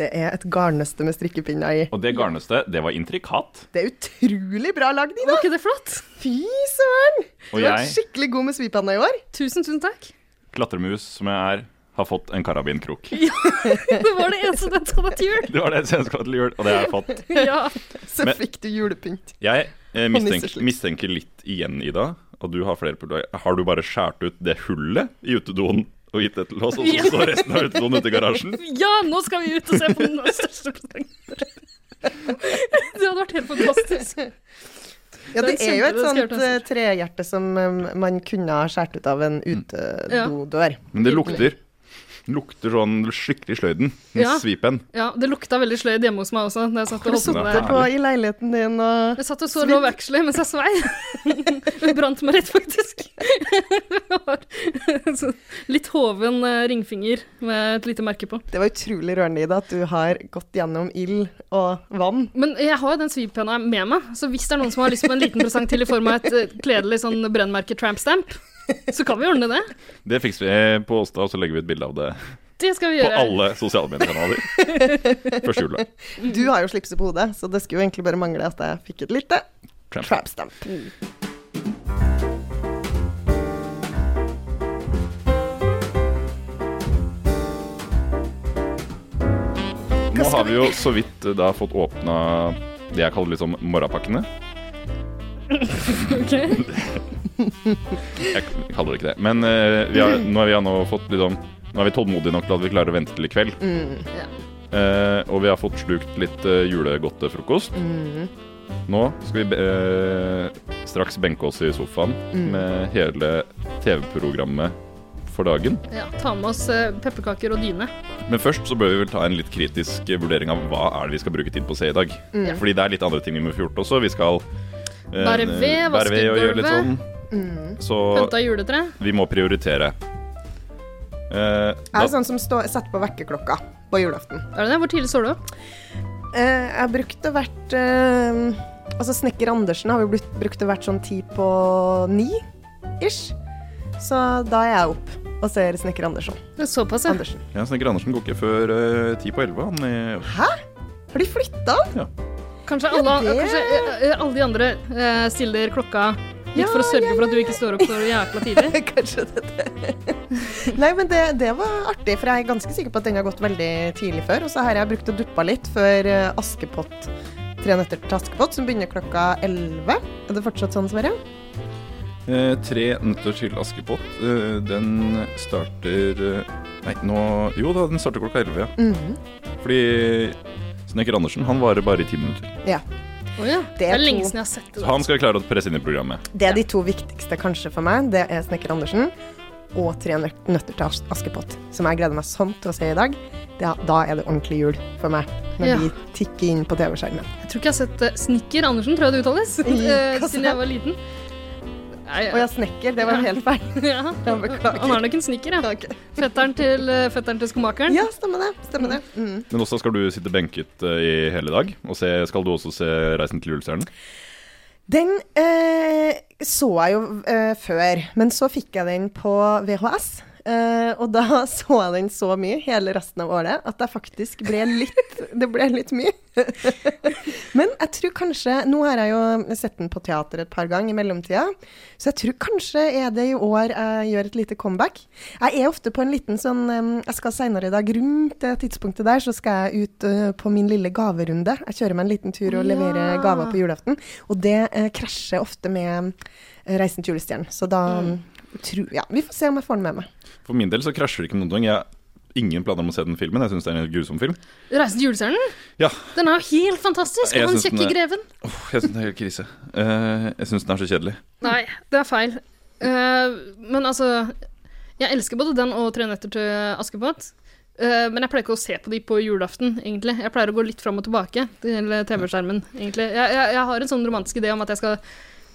Det er et garnnøste med strikkepinner i. Og det garnnøstet, det var intrikat. Det er utrolig bra lagd, Ida! Var ikke det flott? Fy søren! Og Du er jeg, skikkelig god med svipanda i år. Tusen, tusen takk. klatremus som jeg er, har fått en karabinkrok. Det var det eneste den hadde til jul. Det var det jeg ønska til jul, og det har jeg fått. Ja. Så Men- fikk du julepynt. Jeg eh, Og mistenker, nisseslips. mistenker litt igjen, Ida, og du har flere problemer. Har du bare skåret ut det hullet i utedoen og gitt det til oss, og Ja. så står resten av utedoen ute i garasjen? ja, nå skal vi ut og se på den største presentasjonen. Det hadde vært helt fantastisk. Ja, det Den er kjente jo et du, den skal sånt jeg ta eh, trehjerte som eh, man kunne ha skåret ut av en Mm. utedodør. Men det lukter. Lukter sånn skikkelig sløyden. En Ja. Svipen. Ja, det lukta veldig sløyd hjemme hos meg også. Da jeg satt og holdt på med sittet det. På i leiligheten din og Jeg satt og så Love Actually mens jeg svei. Det brant meg litt, faktisk. Jeg har en sånn litt hoven eh, ringfinger med et lite merke på. Det var utrolig rørende, Ida, at du har gått gjennom ild og vann. Men jeg har jo den svivpenna med meg, så hvis det er noen som har lyst på en liten presang til i form av et eh, kledelig sånn brennmerke trampstamp, så kan vi ordne det. Det fikser vi Eh, på Åstad, og så legger vi et bilde av det Det skal vi på gjøre. alle sosiale mediekanaler. Første jula. Du har jo slipset på hodet, så det skulle jo egentlig bare mangle at jeg fikk et lite Tramp. trapstamp. Nå har vi jo så vidt eh, da fått åpna det jeg kaller liksom morrapakkene. Ok. Jeg k- kaller det ikke det. Men eh, vi har, nå, har vi, nå, fått, liksom, nå er vi tålmodige nok til at vi klarer å vente til i kveld. Ja. Eh, og vi har fått slukt litt uh, julegodtefrokost. Nå skal vi be- eh, straks benke oss i sofaen med hele TV-programmet for dagen. ja. Ta med oss eh, pepperkaker og dyne. Men først så bør vi vel ta en litt kritisk eh, vurdering av hva er det vi skal bruke tid på å se i dag. Fordi det er litt andre ting vi må få gjort også. Vi skal eh, Mm. Bære ved, vaske og gjøre litt sånn. gulvet. Mm. Så Pynta juletre. vi må prioritere. Eh, Jeg da- er sånn som stå, setter på vekkerklokka på julaften. Er det det? Hvor tidlig står du opp? Eh, jeg brukte hvert eh, Altså, snekker Andersen har jo brukt, brukte hvert sånn ti på ni ish. Så da er jeg opp og ser Snekker Andersson. Det er Såpass, ja. Andersen. Ja, Snekker Andersen går ikke før eh, ti på elleve. Han eh, i- Hæ? Har de flytta han? Kanskje alle, Ja, det- kanskje, eh, eh, alle de andre eh, stiller klokka litt Ja, for å sørge ja, for at du ikke står opp så jækla tidlig. Kanskje det det. Nei, men det, det var artig, for jeg er ganske sikker på at den har gått veldig tidlig før. Og så har jeg brukt og duppa litt før eh, Askepott, Tre nøtter til Askepott, som begynner klokka elleve. Er det fortsatt sånn, Sverre? Eh, tre nøtter til Askepott. Eh, den starter eh, Nei, nå Jo da, den starter klokka elleve, ja. Mm. Mhm. Fordi Snekker Andersen han varer bare i ti minutter. Å ja. Det Det er er lenge to. siden jeg har sett Så det. han skal klare å presse inn i programmet. Det er de to viktigste kanskje for meg. Det er Snekker Andersen og Tre nø- nøtter til As- Askepott, som jeg gleder meg sånn til å se i dag. Da, da er det ordentlig jul for meg, når Ja. de tikker inn på TV-skjermen. Jeg tror ikke jeg har sett eh, Snikker Andersen, tror jeg det uttales, eh, hva sa siden jeg var liten. Nei, Å ja, snekker. Det var helt feil. ja. Ja, beklager. Han er nok en snikker, ja. Fetteren til, eh, fetteren til skomakeren. Ja, stemmer det. Stemmer det. Mm. Men også skal du sitte benket eh, i hele dag. Og se, skal du også se Reisen til julestjernen? Den eh, så jeg jo eh, før, men så fikk jeg den på VHS. Eh, og da så jeg den så mye hele resten av året at jeg faktisk ble litt Det ble litt mye. men jeg tror kanskje Nå har jeg jo sett den på teater et par ganger i mellomtida, så jeg tror kanskje er det i år jeg gjør et lite comeback. Jeg er ofte på en liten sånn eh, Jeg skal seinere i dag, rundt det tidspunktet der, så skal jeg ut eh, på min lille gaverunde. Jeg kjører meg en liten tur og Ja. leverer gaver på julaften. Og det eh, krasjer ofte med eh, Reisen til julestjernen. Så da mm. tror Ja, vi får se om jeg får den med meg. For min del så krasjer det ikke med noen ting. Jeg ingen planer om å se den filmen. Jeg syns det er en grusom film. 'Reisen til julestjernen'? Ja, Den er jo helt fantastisk! Jeg Og han synes den kjekke er- greven. Åh, jeg syns den er helt krise. Eh, jeg syns den er så kjedelig. Nei, det er feil. Eh, men altså Jeg elsker både den og 'Tre nøtter til Askepott'. Eh, men jeg pleier ikke å se på de på julaften, egentlig. Jeg pleier å gå litt fram og tilbake til TV-skjermen, egentlig. Jeg, jeg, jeg har en sånn romantisk idé om at jeg skal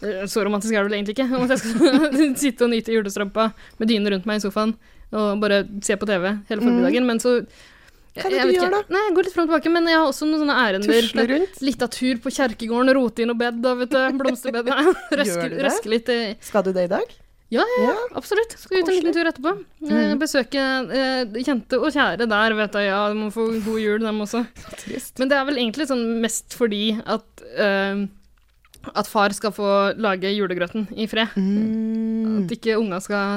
eh, Så romantisk er det vel egentlig ikke. Om at jeg skal sitte og nyte julestrømpa med dynen rundt meg i sofaen og bare se på TV hele formiddagen. Men så Mm. Hva er det jeg du vet ikke. gjør da? Nei, jeg går litt fram og tilbake, men jeg har også noen sånne ærender. Tusle rundt? Litt av tur på kjerkegården, rote i noe bed, da, vet du. Blomsterbed. Nei, Røske, Gjør du det? røske litt i Skal du det i dag? Ja, ja, ja. Ja. absolutt. Skal ut en liten Koselig. Mm. tur etterpå. Eh, besøke eh, kjente og kjære der, vet du. Ja, de må få god jul, dem også. Trist. Men det er vel egentlig sånn mest fordi at eh, at far skal få lage julegrøten i fred. Mm. At ikke unga skal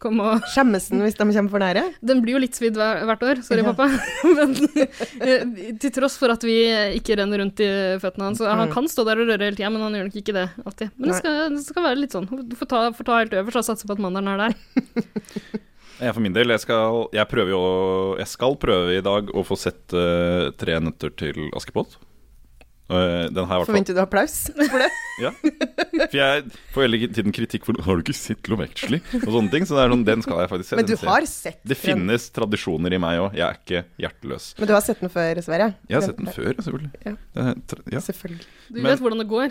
komme og Skjemmes den hvis de kommer for nære? Den blir jo litt svidd hver- hvert år, sorry, Ja. pappa. Men eh, til tross for at vi ikke renner rundt i føttene hans. så Han kan stå der og røre hele tida, men han gjør nok ikke det alltid. Men det Mm. Nei. skal, det skal være litt sånn. Du får ta, får ta helt øverst og satse på at mandelen er der. Jeg for min del, jeg skal, jeg prøver jo, å- jeg skal prøve i dag å få sett eh, 'Tre nøtter til Askepott'. Eh, den har jeg i hvert fall- Forventer du applaus for det? Ja. For jeg får hele tiden kritikk for Har du ikke sett Love Actually? Og sånne ting. Så det er sånn, den skal jeg faktisk se. Men den du ser jeg. har sett Det den. finnes tradisjoner i meg òg. Jeg er ikke hjerteløs. Men du har sett den før, Sverre? Jeg har sett den før, selvfølgelig. Ja. Det er tra- Ja. Selvfølgelig. Du Men- vet hvordan det går.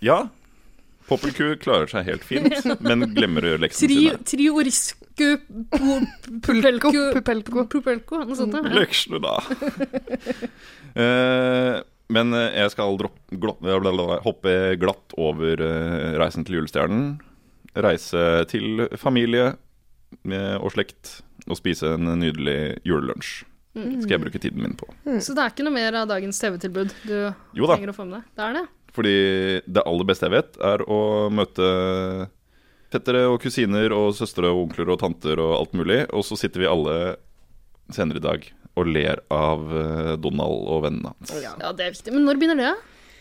ja. Poppelku klarer seg helt fint, men glemmer å gjøre leksene Tri, sine. triorisku pulpelko Pupelko. Pupelko, noe sånt. Ja. Leksene, da. Eh, men eh, jeg skal dropp, glott, blablabla, hoppe glatt over eh, reisen til julestjernen. Reise til familie eh, og slekt og spise en nydelig julelunsj. Skal jeg bruke tiden min på. Så det er ikke noe mer av dagens TV-tilbud du Jo da. trenger å få med deg? Det er det. Fordi det aller beste jeg vet, er å møte fettere og kusiner og søstre og onkler og tanter og alt mulig. Og så sitter vi alle senere i dag og ler av eh, Donald og vennene hans. Ja, det er viktig. Men når begynner det?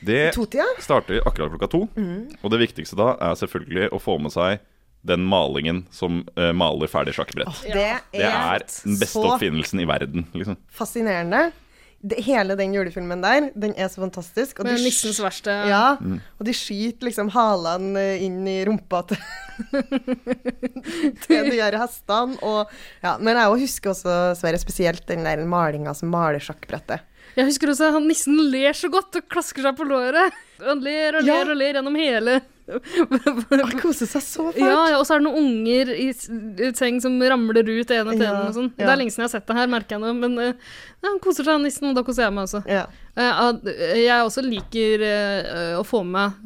Det Totida? starter akkurat klokka to. Mhm. Og det viktigste da er selvfølgelig å få med seg den malingen som eh, maler ferdig sjakkbrett. Det Det er den beste så oppfinnelsen i verden, liksom. fascinerende. Det, hele den julefilmen der, den er så fantastisk. Og Med de nissens verste Ja, Mm. og de skyter liksom halene eh, inn i rumpa til, til de her hestene. Og, ja, men jeg også husker også, Sverre, spesielt den der malinga som maler sjakkbrettet. Jeg husker også at han nissen ler så godt og klasker seg på låret. Han ler og Ja. ler og ler gjennom hele Han koser seg så fælt. Ja, ja, og så er det noen unger i s- i seng som ramler ut det ene til det Ja, ene og sånn. ja. Det er lenge siden jeg har sett det her, merker jeg nå, men eh, ja, han koser seg, han nissen, og da koser jeg meg også. Ja. Eh, at Jeg også liker eh, å få med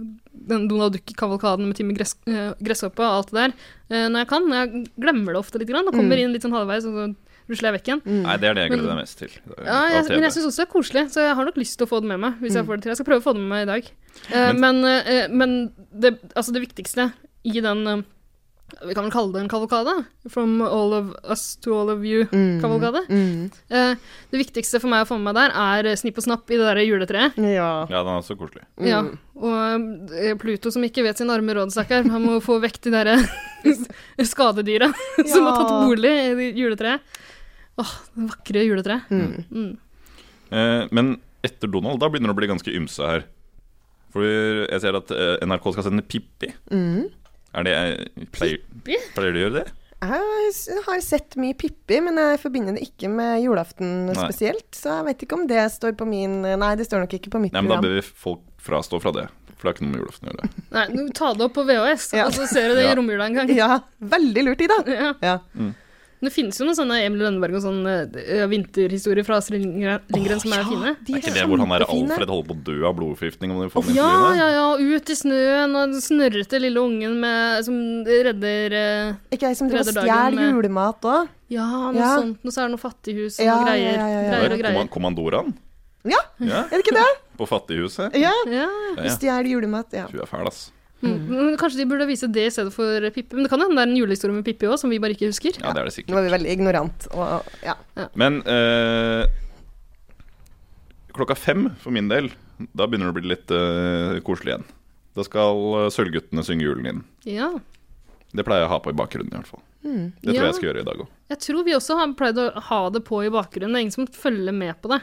den Donald Duck-kavalkaden med Timmy gress, eh, Gresshoppa og alt det der eh, når jeg kan. Jeg glemmer det ofte litt grann, og kommer Mm. inn litt sånn halvveis, og så rusler jeg vekk igjen. Nei, det er det jeg gleder Men- meg mest til. eh, Mm. Ja, av jeg, TV. men jeg syns også det er koselig, så jeg har nok lyst til å få det med meg. Hvis Jeg får det til. Jeg skal prøve å få det med meg i dag. Eh, men eh, men det, altså det viktigste i den eh, Vi kan vel kalle det en kavalkade? From all of us to all of you-kavalkade. Mm. det viktigste for meg å få med meg der, er eh, snipp og snapp i det der juletreet. ja. Ja, den er så koselig. Ja, og eh, Pluto som ikke vet sin arme råd, stakkar. Han må få vekk de derre skadedyra som har tatt Ja. bolig i det juletreet. Åh, det vakre juletreet. Eh, men etter Donald, da begynner det å bli ganske ymse her. For jeg ser at eh, NRK skal sende Pippi. Mm. Er det pleier, pleier de å gjøre det? Jeg s- har sett mye Pippi, men jeg forbinder det ikke med julaften Nei. spesielt. Så jeg vet ikke om det står på min Nei, det står nok ikke på mitt Nei, men da program. bør vi folk frastå fra det. For det har ikke noe med julaften å gjøre. Nei, nå ta det opp på VHS, Ja. og så ser du det Ja. i romjula en gang. Ja, veldig lurt, Ida. Ja. Ja. Men Det finnes jo noen sånne Emil i Lønneberg og sånne eh, vinterhistorier fra Astrid Lindgren Lindgren som er fine. De Er ikke det hvor han der kjempefine. Alfred holder på å dø av blodforgiftning? Om de får Ja, medisiner? ja, ja. Ut i snøen og den snørrete lille ungen med, som redder eh, Ikke ei som driver og Redder dagen stjeler med- julemat òg? Ja, noe Ja. sånt. Og så er det noe fattighus og Ja, noe greier. ja, ja, ja, ja. Der greier og kom han greier. kommandoraen Ja, Mm. ja, er det ikke det? på fattighuset. Ja. Ja. Ja, ja. Stjeler julemat, ja. Hun er fæl, ass. Mm. Men Kanskje de burde vise det i stedet for Pippi. Men det kan hende det er en julehistorie med Pippi òg, som vi bare ikke husker. Ja, det er det sikkert. Nå var vi veldig ignorant og ja. Men eh, klokka fem for min del, da begynner det å bli litt eh, koselig igjen. Da skal eh, Sølvguttene synge julen inn. Ja. Det pleier jeg å ha på i bakgrunnen i hvert fall. Det tror Mm, Ja. jeg jeg skal gjøre i dag òg. Jeg tror vi også har pleid å ha det på i bakgrunnen. Det er ingen som følger med på det.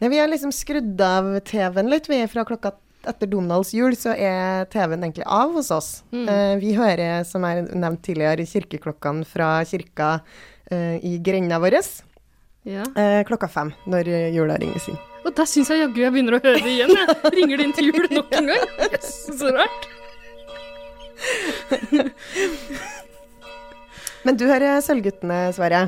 Nei, vi har liksom skrudd av TV-en litt. Vi er fra klokka etter Donalds jul, så er TV-en egentlig av hos oss. Eh, vi hører, som jeg nevnte tidligere, kirkeklokkene fra kirka eh, i grenda vår eh, Ja. klokka fem, når eh, jula ringes inn. Og der syns jeg jaggu jeg begynner å høre det igjen. Jeg ringer det inn til jul nok en gang. Yes, så rart. Men du hører Sølvguttene, Sverre.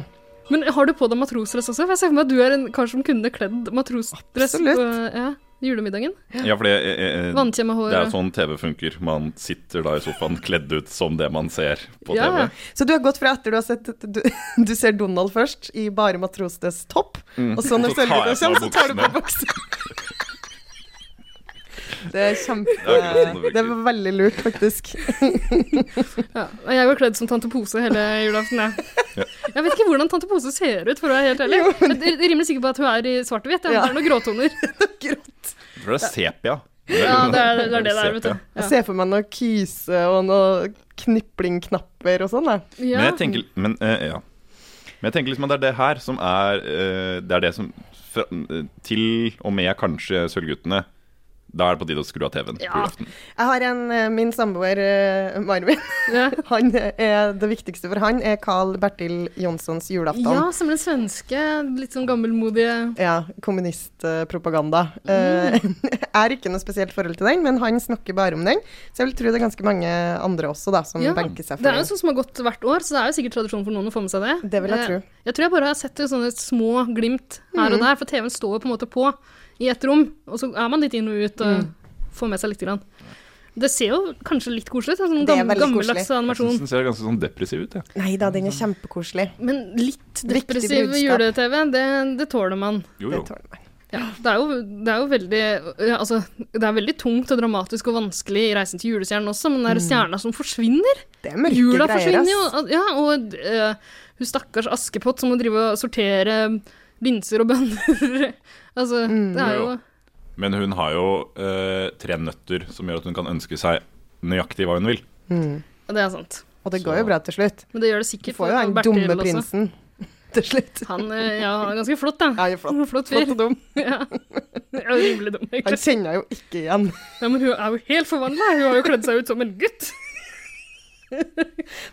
Men har du på deg matrosdress også? For jeg ser for meg at du er en kar som kunne kledd matrosdress på Absolutt. ja, julemiddagen. Ja, for det, eh, eh, Vannkjemma hår. det er jo sånn TV funker. Man sitter da i sofaen kledd ut som det man ser på Ja. TV. Så du har gått fra etter du har sett Du, du ser Donald først, i bare matrosnes topp, og så Mm. når Så tar Sølvguttene jeg på kommer, så tar du på buksa. Det er kjempe... Det er akkurat sånn det Det virker. var veldig lurt, faktisk. Ja, og jeg var kledd som tante Pose hele julaften. Jeg. jeg vet ikke hvordan tante Pose ser ut, for å være helt ærlig. Jeg er rimelig sikker på at hun er i svart-hvitt. Jeg Ja. antar noen gråtoner. Grått. Jeg tror det er sepia. Ja, det er det er det, det er, vet Sepia. du. Jeg ser for meg noe kyse og noe kniplingknapper og sånn. da. Ja. Men jeg tenker, men, eh, ja. men jeg tenker liksom at det er det her som er eh, Det er det som fra, eh, Til og med kanskje Sølvguttene Da er det på tide å skru av TV-en på Ja. julaften. Jeg har en, eh, Min samboer eh, Marvin Ja. han er, Det viktigste for han er Carl Bertil Jonssons julaften. Ja, som den svenske, litt sånn gammelmodige Ja, kommunistpropaganda. Mm. Jeg er ikke noe spesielt forhold til den, men han snakker bare om den. Så jeg vil tro det er ganske mange andre også da, som Ja, benker seg for Det er jo den. sånn som har gått hvert år, så det er jo sikkert tradisjon for noen å få med seg det. Det vil jeg tro. Mm. Eh, Jeg tror jeg bare har sett det sånne små glimt her og der, for TV-en står jo på en måte på i ett rom, og så er man litt inn og ut og Mm. får med seg litt. Grann. Det ser jo kanskje litt koselig ut, en sånn Det er gam veldig gammeldags koselig. Jeg synes animasjon. den ser ganske sånn depressiv ut. Ja. Nei da, den er kjempekoselig. Men litt Viktig depressiv budskap. jule-TV, det, det tåler man. Jo, Det jo. tåler man. Ja, det, er jo, det er jo veldig ja, Altså, det er veldig tungt og dramatisk og vanskelig i 'Reisen til julestjernen' også, men den der Mm. stjerna som forsvinner Det er mørke Jula greier, forsvinner ass. jo. al- Ja, og eh, hun stakkars Askepott som må drive og sortere eh, linser og bønner. altså, Mm. det er jo Jo, Men hun har jo eh, tre nøtter som gjør at hun kan ønske seg nøyaktig hva hun vil. Det er sant. Og det går jo bra til slutt. Men det gjør det Du sikkert. får jo for den Bertil dumme også. prinsen til slutt. Han eh, ja, han er ganske flott, da. Ja, han er flott. flott fyr. Flott og dum. Ja, rimelig dum, Han egentlig. kjenner jeg jo ikke igjen. Ja, men hun er jo helt forvandla. Hun har jo kledd seg ut som en gutt.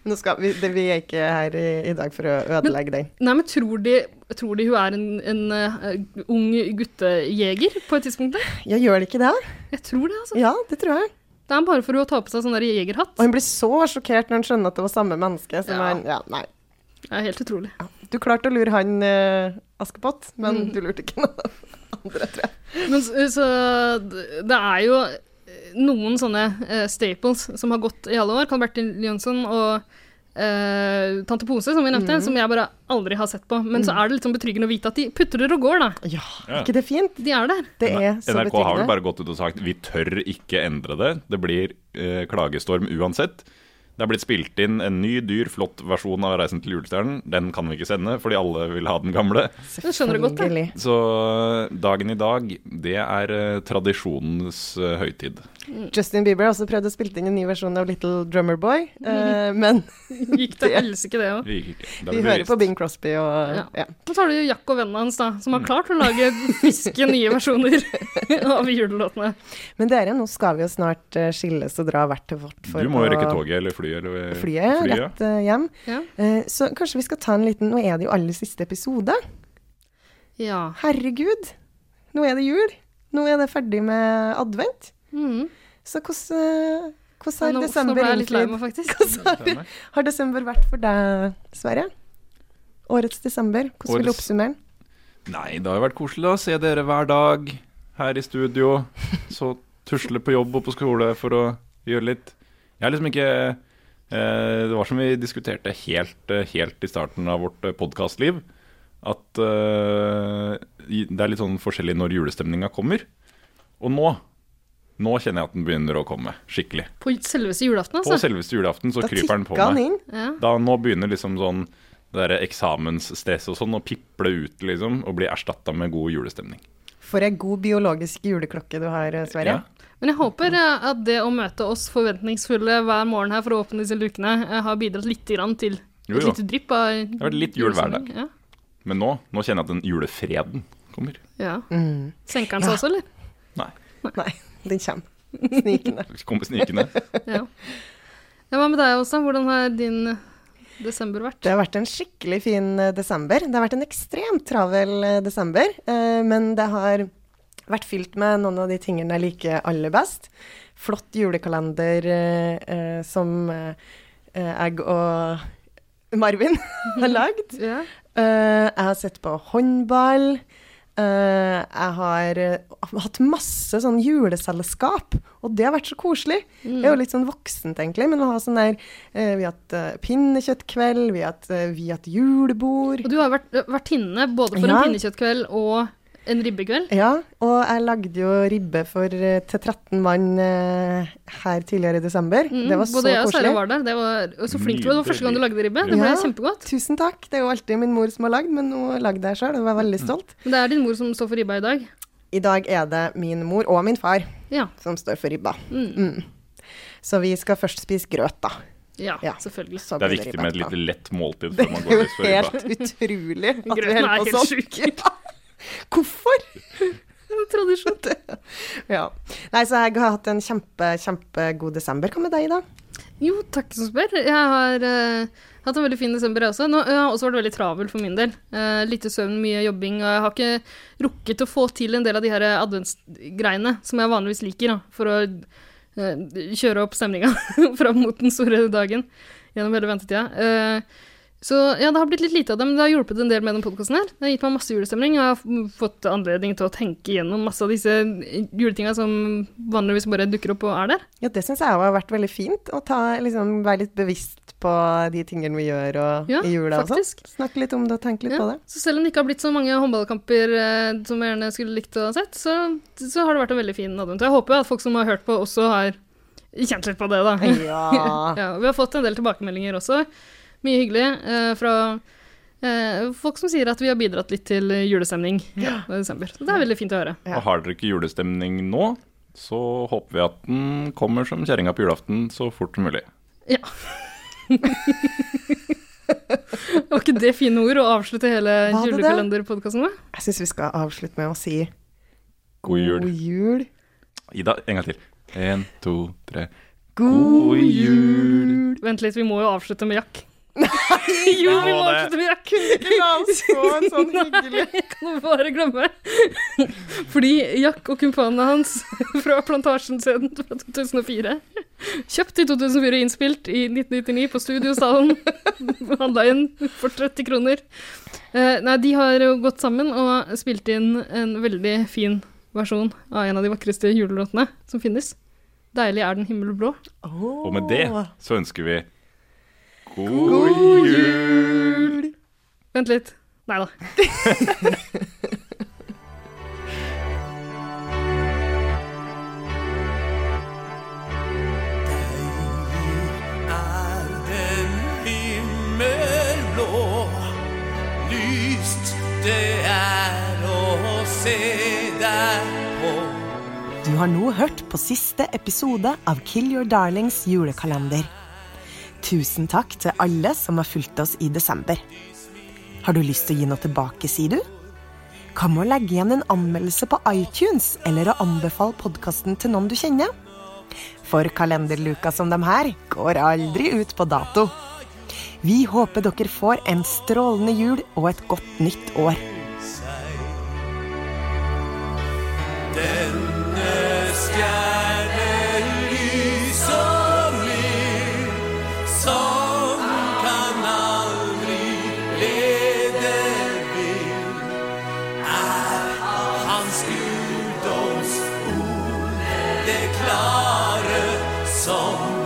Nå skal vi, det, vi er ikke her i, i dag for å ødelegge den. Nei, men tror de, tror de hun er en, en eh, ung guttejeger på et tidspunkt? der? Ja, gjør det ikke det? Jeg tror det, altså. Ja, det tror jeg. Det er bare for hun å ta på seg sånn der jegerhatt. Og hun blir så sjokkert når hun skjønner at det var samme menneske som Ja. han Ja, nei. Det er helt utrolig. Du klarte å lure han eh, Askepott, men Mm. du lurte ikke noen andre, tror jeg. Men så, så d- det er jo eh, noen sånne eh, staples som har gått i alle år. Carl Bertil Jønsson og eh, Tante Pose, som vi nevnte, som jeg bare aldri har sett på. Men så er det litt sånn betryggende å vite at de putrer og går, da. Ja, ikke det fint? De er der. Det er NRK så har vel betryggende. bare gått ut og sagt vi tør ikke endre det. Det blir eh, klagestorm uansett. Det er blitt spilt inn en ny, dyr, flott versjon av 'Reisen til julestjernen'. Den kan vi ikke sende, fordi alle vil ha den gamle. Jeg skjønner det godt, jeg. Selvfølgelig. Så eh, dagen i dag, det er eh, tradisjonens eh, høytid. Mm. Justin Bieber har også prøvd å spille inn en ny versjon av Little Drummer Boy, Mm. eh, men Gikk til helsike, det òg. Vi gikk ikke. Da ble vi hører bevisst. på Bing Crosby og Ja. ja. Så tar du jo Jack og vennene hans, da, som har klart å lage friske nye versjoner av julelåtene. Men dere, nå skal vi jo snart eh, skilles og dra hvert til vårt for Du må jo rekke å- toget eller flyet eller Flyet, rett eh, hjem. Ja. Eh, så kanskje vi skal ta en liten Nå er det jo aller siste episode. ja. Herregud, nå er det jul. Nå er det ferdig med advent. Mhm. Så hvordan, eh, hvordan Nå, har nå ble desember jeg litt lei meg, egentlig faktisk. Hvordan har, har desember vært for deg, Sverre? Årets desember. Hvordan vil du Årets- oppsummere den? Nei, det har jo vært koselig da, å se dere hver dag her i studio. Så tusle på jobb og på skole for å gjøre litt. Jeg er liksom ikke eh, Det var som vi diskuterte helt, eh, helt i starten av vårt podkastliv, at eh, i- det er litt sånn forskjellig når julestemninga kommer. Og nå nå kjenner jeg at den begynner å komme skikkelig. På selveste julaften, På altså. selveste julaften så Da kryper den på tikka han meg. inn. Ja. Da nå begynner liksom sånn det der eksamensstresset og sånn å piple ut liksom, og bli erstatta med god julestemning. For ei god biologisk juleklokke du har, eh, Sverre. Ja. Men jeg håper eh, at det å møte oss forventningsfulle hver morgen her for å åpne disse lukene, eh, har bidratt litt grann til Jo, Et jo. lite drypp av Det har vært litt jul hver dag. Ja. Men nå, nå kjenner jeg at den julefreden kommer. ja. Mm. Senker den seg også, eller? Nei. Nei, den kommer. Snikende. Det kommer snikende. Ja. ja. Hva med deg, Åsa? Hvordan har din eh, desember vært? Det har vært en skikkelig fin eh, desember. Det har vært en ekstremt travel eh, desember, eh, men det har vært fylt med noen av de tingene jeg liker aller best. Flott julekalender eh, eh, som eh, eh, jeg og Marvin har lagd. Ja. Eh, jeg har sett på håndball. Eh, jeg har eh, hatt masse sånn juleselskap, og det har vært så koselig. Det Mm. er jo litt sånn voksent, egentlig, men å ha sånn der eh, Vi har hatt eh, pinnekjøttkveld, vi har hatt, eh, vi har hatt julebord. Og du har vært eh, vært vertinne både for Ja. en pinnekjøttkveld og en ribbekveld. Ja, og jeg lagde jo ribbe for, eh, til 13 mann eh, her tidligere i desember. Mm, det var så både jeg og Sverre koselig. var der. Det var og så flink du var. Det var første gang du lagde ribbe. Det ble Ja. kjempegodt. Tusen takk. Det er jo alltid min mor som har lagd, men nå lagde jeg sjøl, og jeg var Mm. veldig stolt. Men det er din mor som står for ribba i dag. I dag er det min mor og min far Ja. som står for ribba. Mm. Så vi skal først spise grøt, da. Ja, Ja. selvfølgelig. Så Det er blir viktig ribba med et lite etterpå. lett måltid Det før man går er jo løs for helt ribba. utrolig at vi Grøten holder er på helt sånn. sjuk. Hvorfor? Tradisjon. Ja. Nei, så jeg har hatt en kjempe, kjempegod desember. Hva med deg, da? Jo, takk som spør. Jeg har eh, hatt en veldig fin desember, jeg også. Nå, jeg har også vært veldig travel for min del. Eh, lite søvn, mye jobbing. Og jeg har ikke rukket å få til en del av de her adventsgreiene som jeg vanligvis liker, da, for å eh, kjøre opp stemninga fram mot den store dagen gjennom hele ventetida. Eh, så ja, det har blitt litt lite av det, men det har hjulpet en del med den podkasten her. Det har gitt meg masse julestemning, og jeg har f- fått anledning til å tenke gjennom masse av disse juletinga som vanligvis bare dukker opp og er der. Ja, det syns jeg også har vært veldig fint. Å ta, liksom, være litt bevisst på de tingene vi gjør og, Ja, i jula og faktisk. sånn. Snakke litt om det og tenke litt Ja, på det. Så selv om det ikke har blitt så mange håndballkamper eh, som jeg gjerne skulle likt å ha sett, så, så har det vært en veldig fin advent. Og Jeg håper jo at folk som har hørt på, også har kjent litt på det, da. Ja. Ja, og vi har fått en del tilbakemeldinger også. Mye hyggelig eh, fra eh, folk som sier at vi har bidratt litt til julestemning i desember. Så det er veldig fint å høre. Og har dere ikke julestemning nå, så håper vi at den kommer som kjerringa på julaften så fort som mulig. Ja. Var ikke det fine ord å avslutte hele Var det det? julekalenderpodkasten med? Jeg syns vi skal avslutte med å si God jul. god jul. Ida, en gang til. En, to, tre. God jul. Vent litt, vi må jo avslutte med jakk. jo, vi må det. avslutte med jakk! La oss få en sånn hyggelig Det kan du bare glemme. Fordi Jack og kumpanene hans fra Plantasjen-scenen fra 2004, kjøpt i 2004, innspilt i 1999 på Studiosalen, handla inn for 30 kroner. Eh, nei, de har jo gått sammen og spilt inn en veldig fin versjon av en av de vakreste julelåtene som finnes. 'Deilig er den himmelblå'. Og med det så ønsker vi god, jul. Vent litt. Nei da. er den himmelblå. Lyst det er å se deg på. Du har nå hørt på siste episode av Kill Your Darlings julekalender. Tusen takk til alle som har fulgt oss i desember. Har du lyst til å gi noe tilbake, sier du? Hva med å legge igjen en anmeldelse på iTunes, eller å anbefale podkasten til noen du kjenner? For kalenderluka som dem her går aldri ut på dato. Vi håper dere får en strålende jul og et godt nytt år. Denne stjernen lyser ned, som kan aldri lede vill, er hans guddoms ord det klare som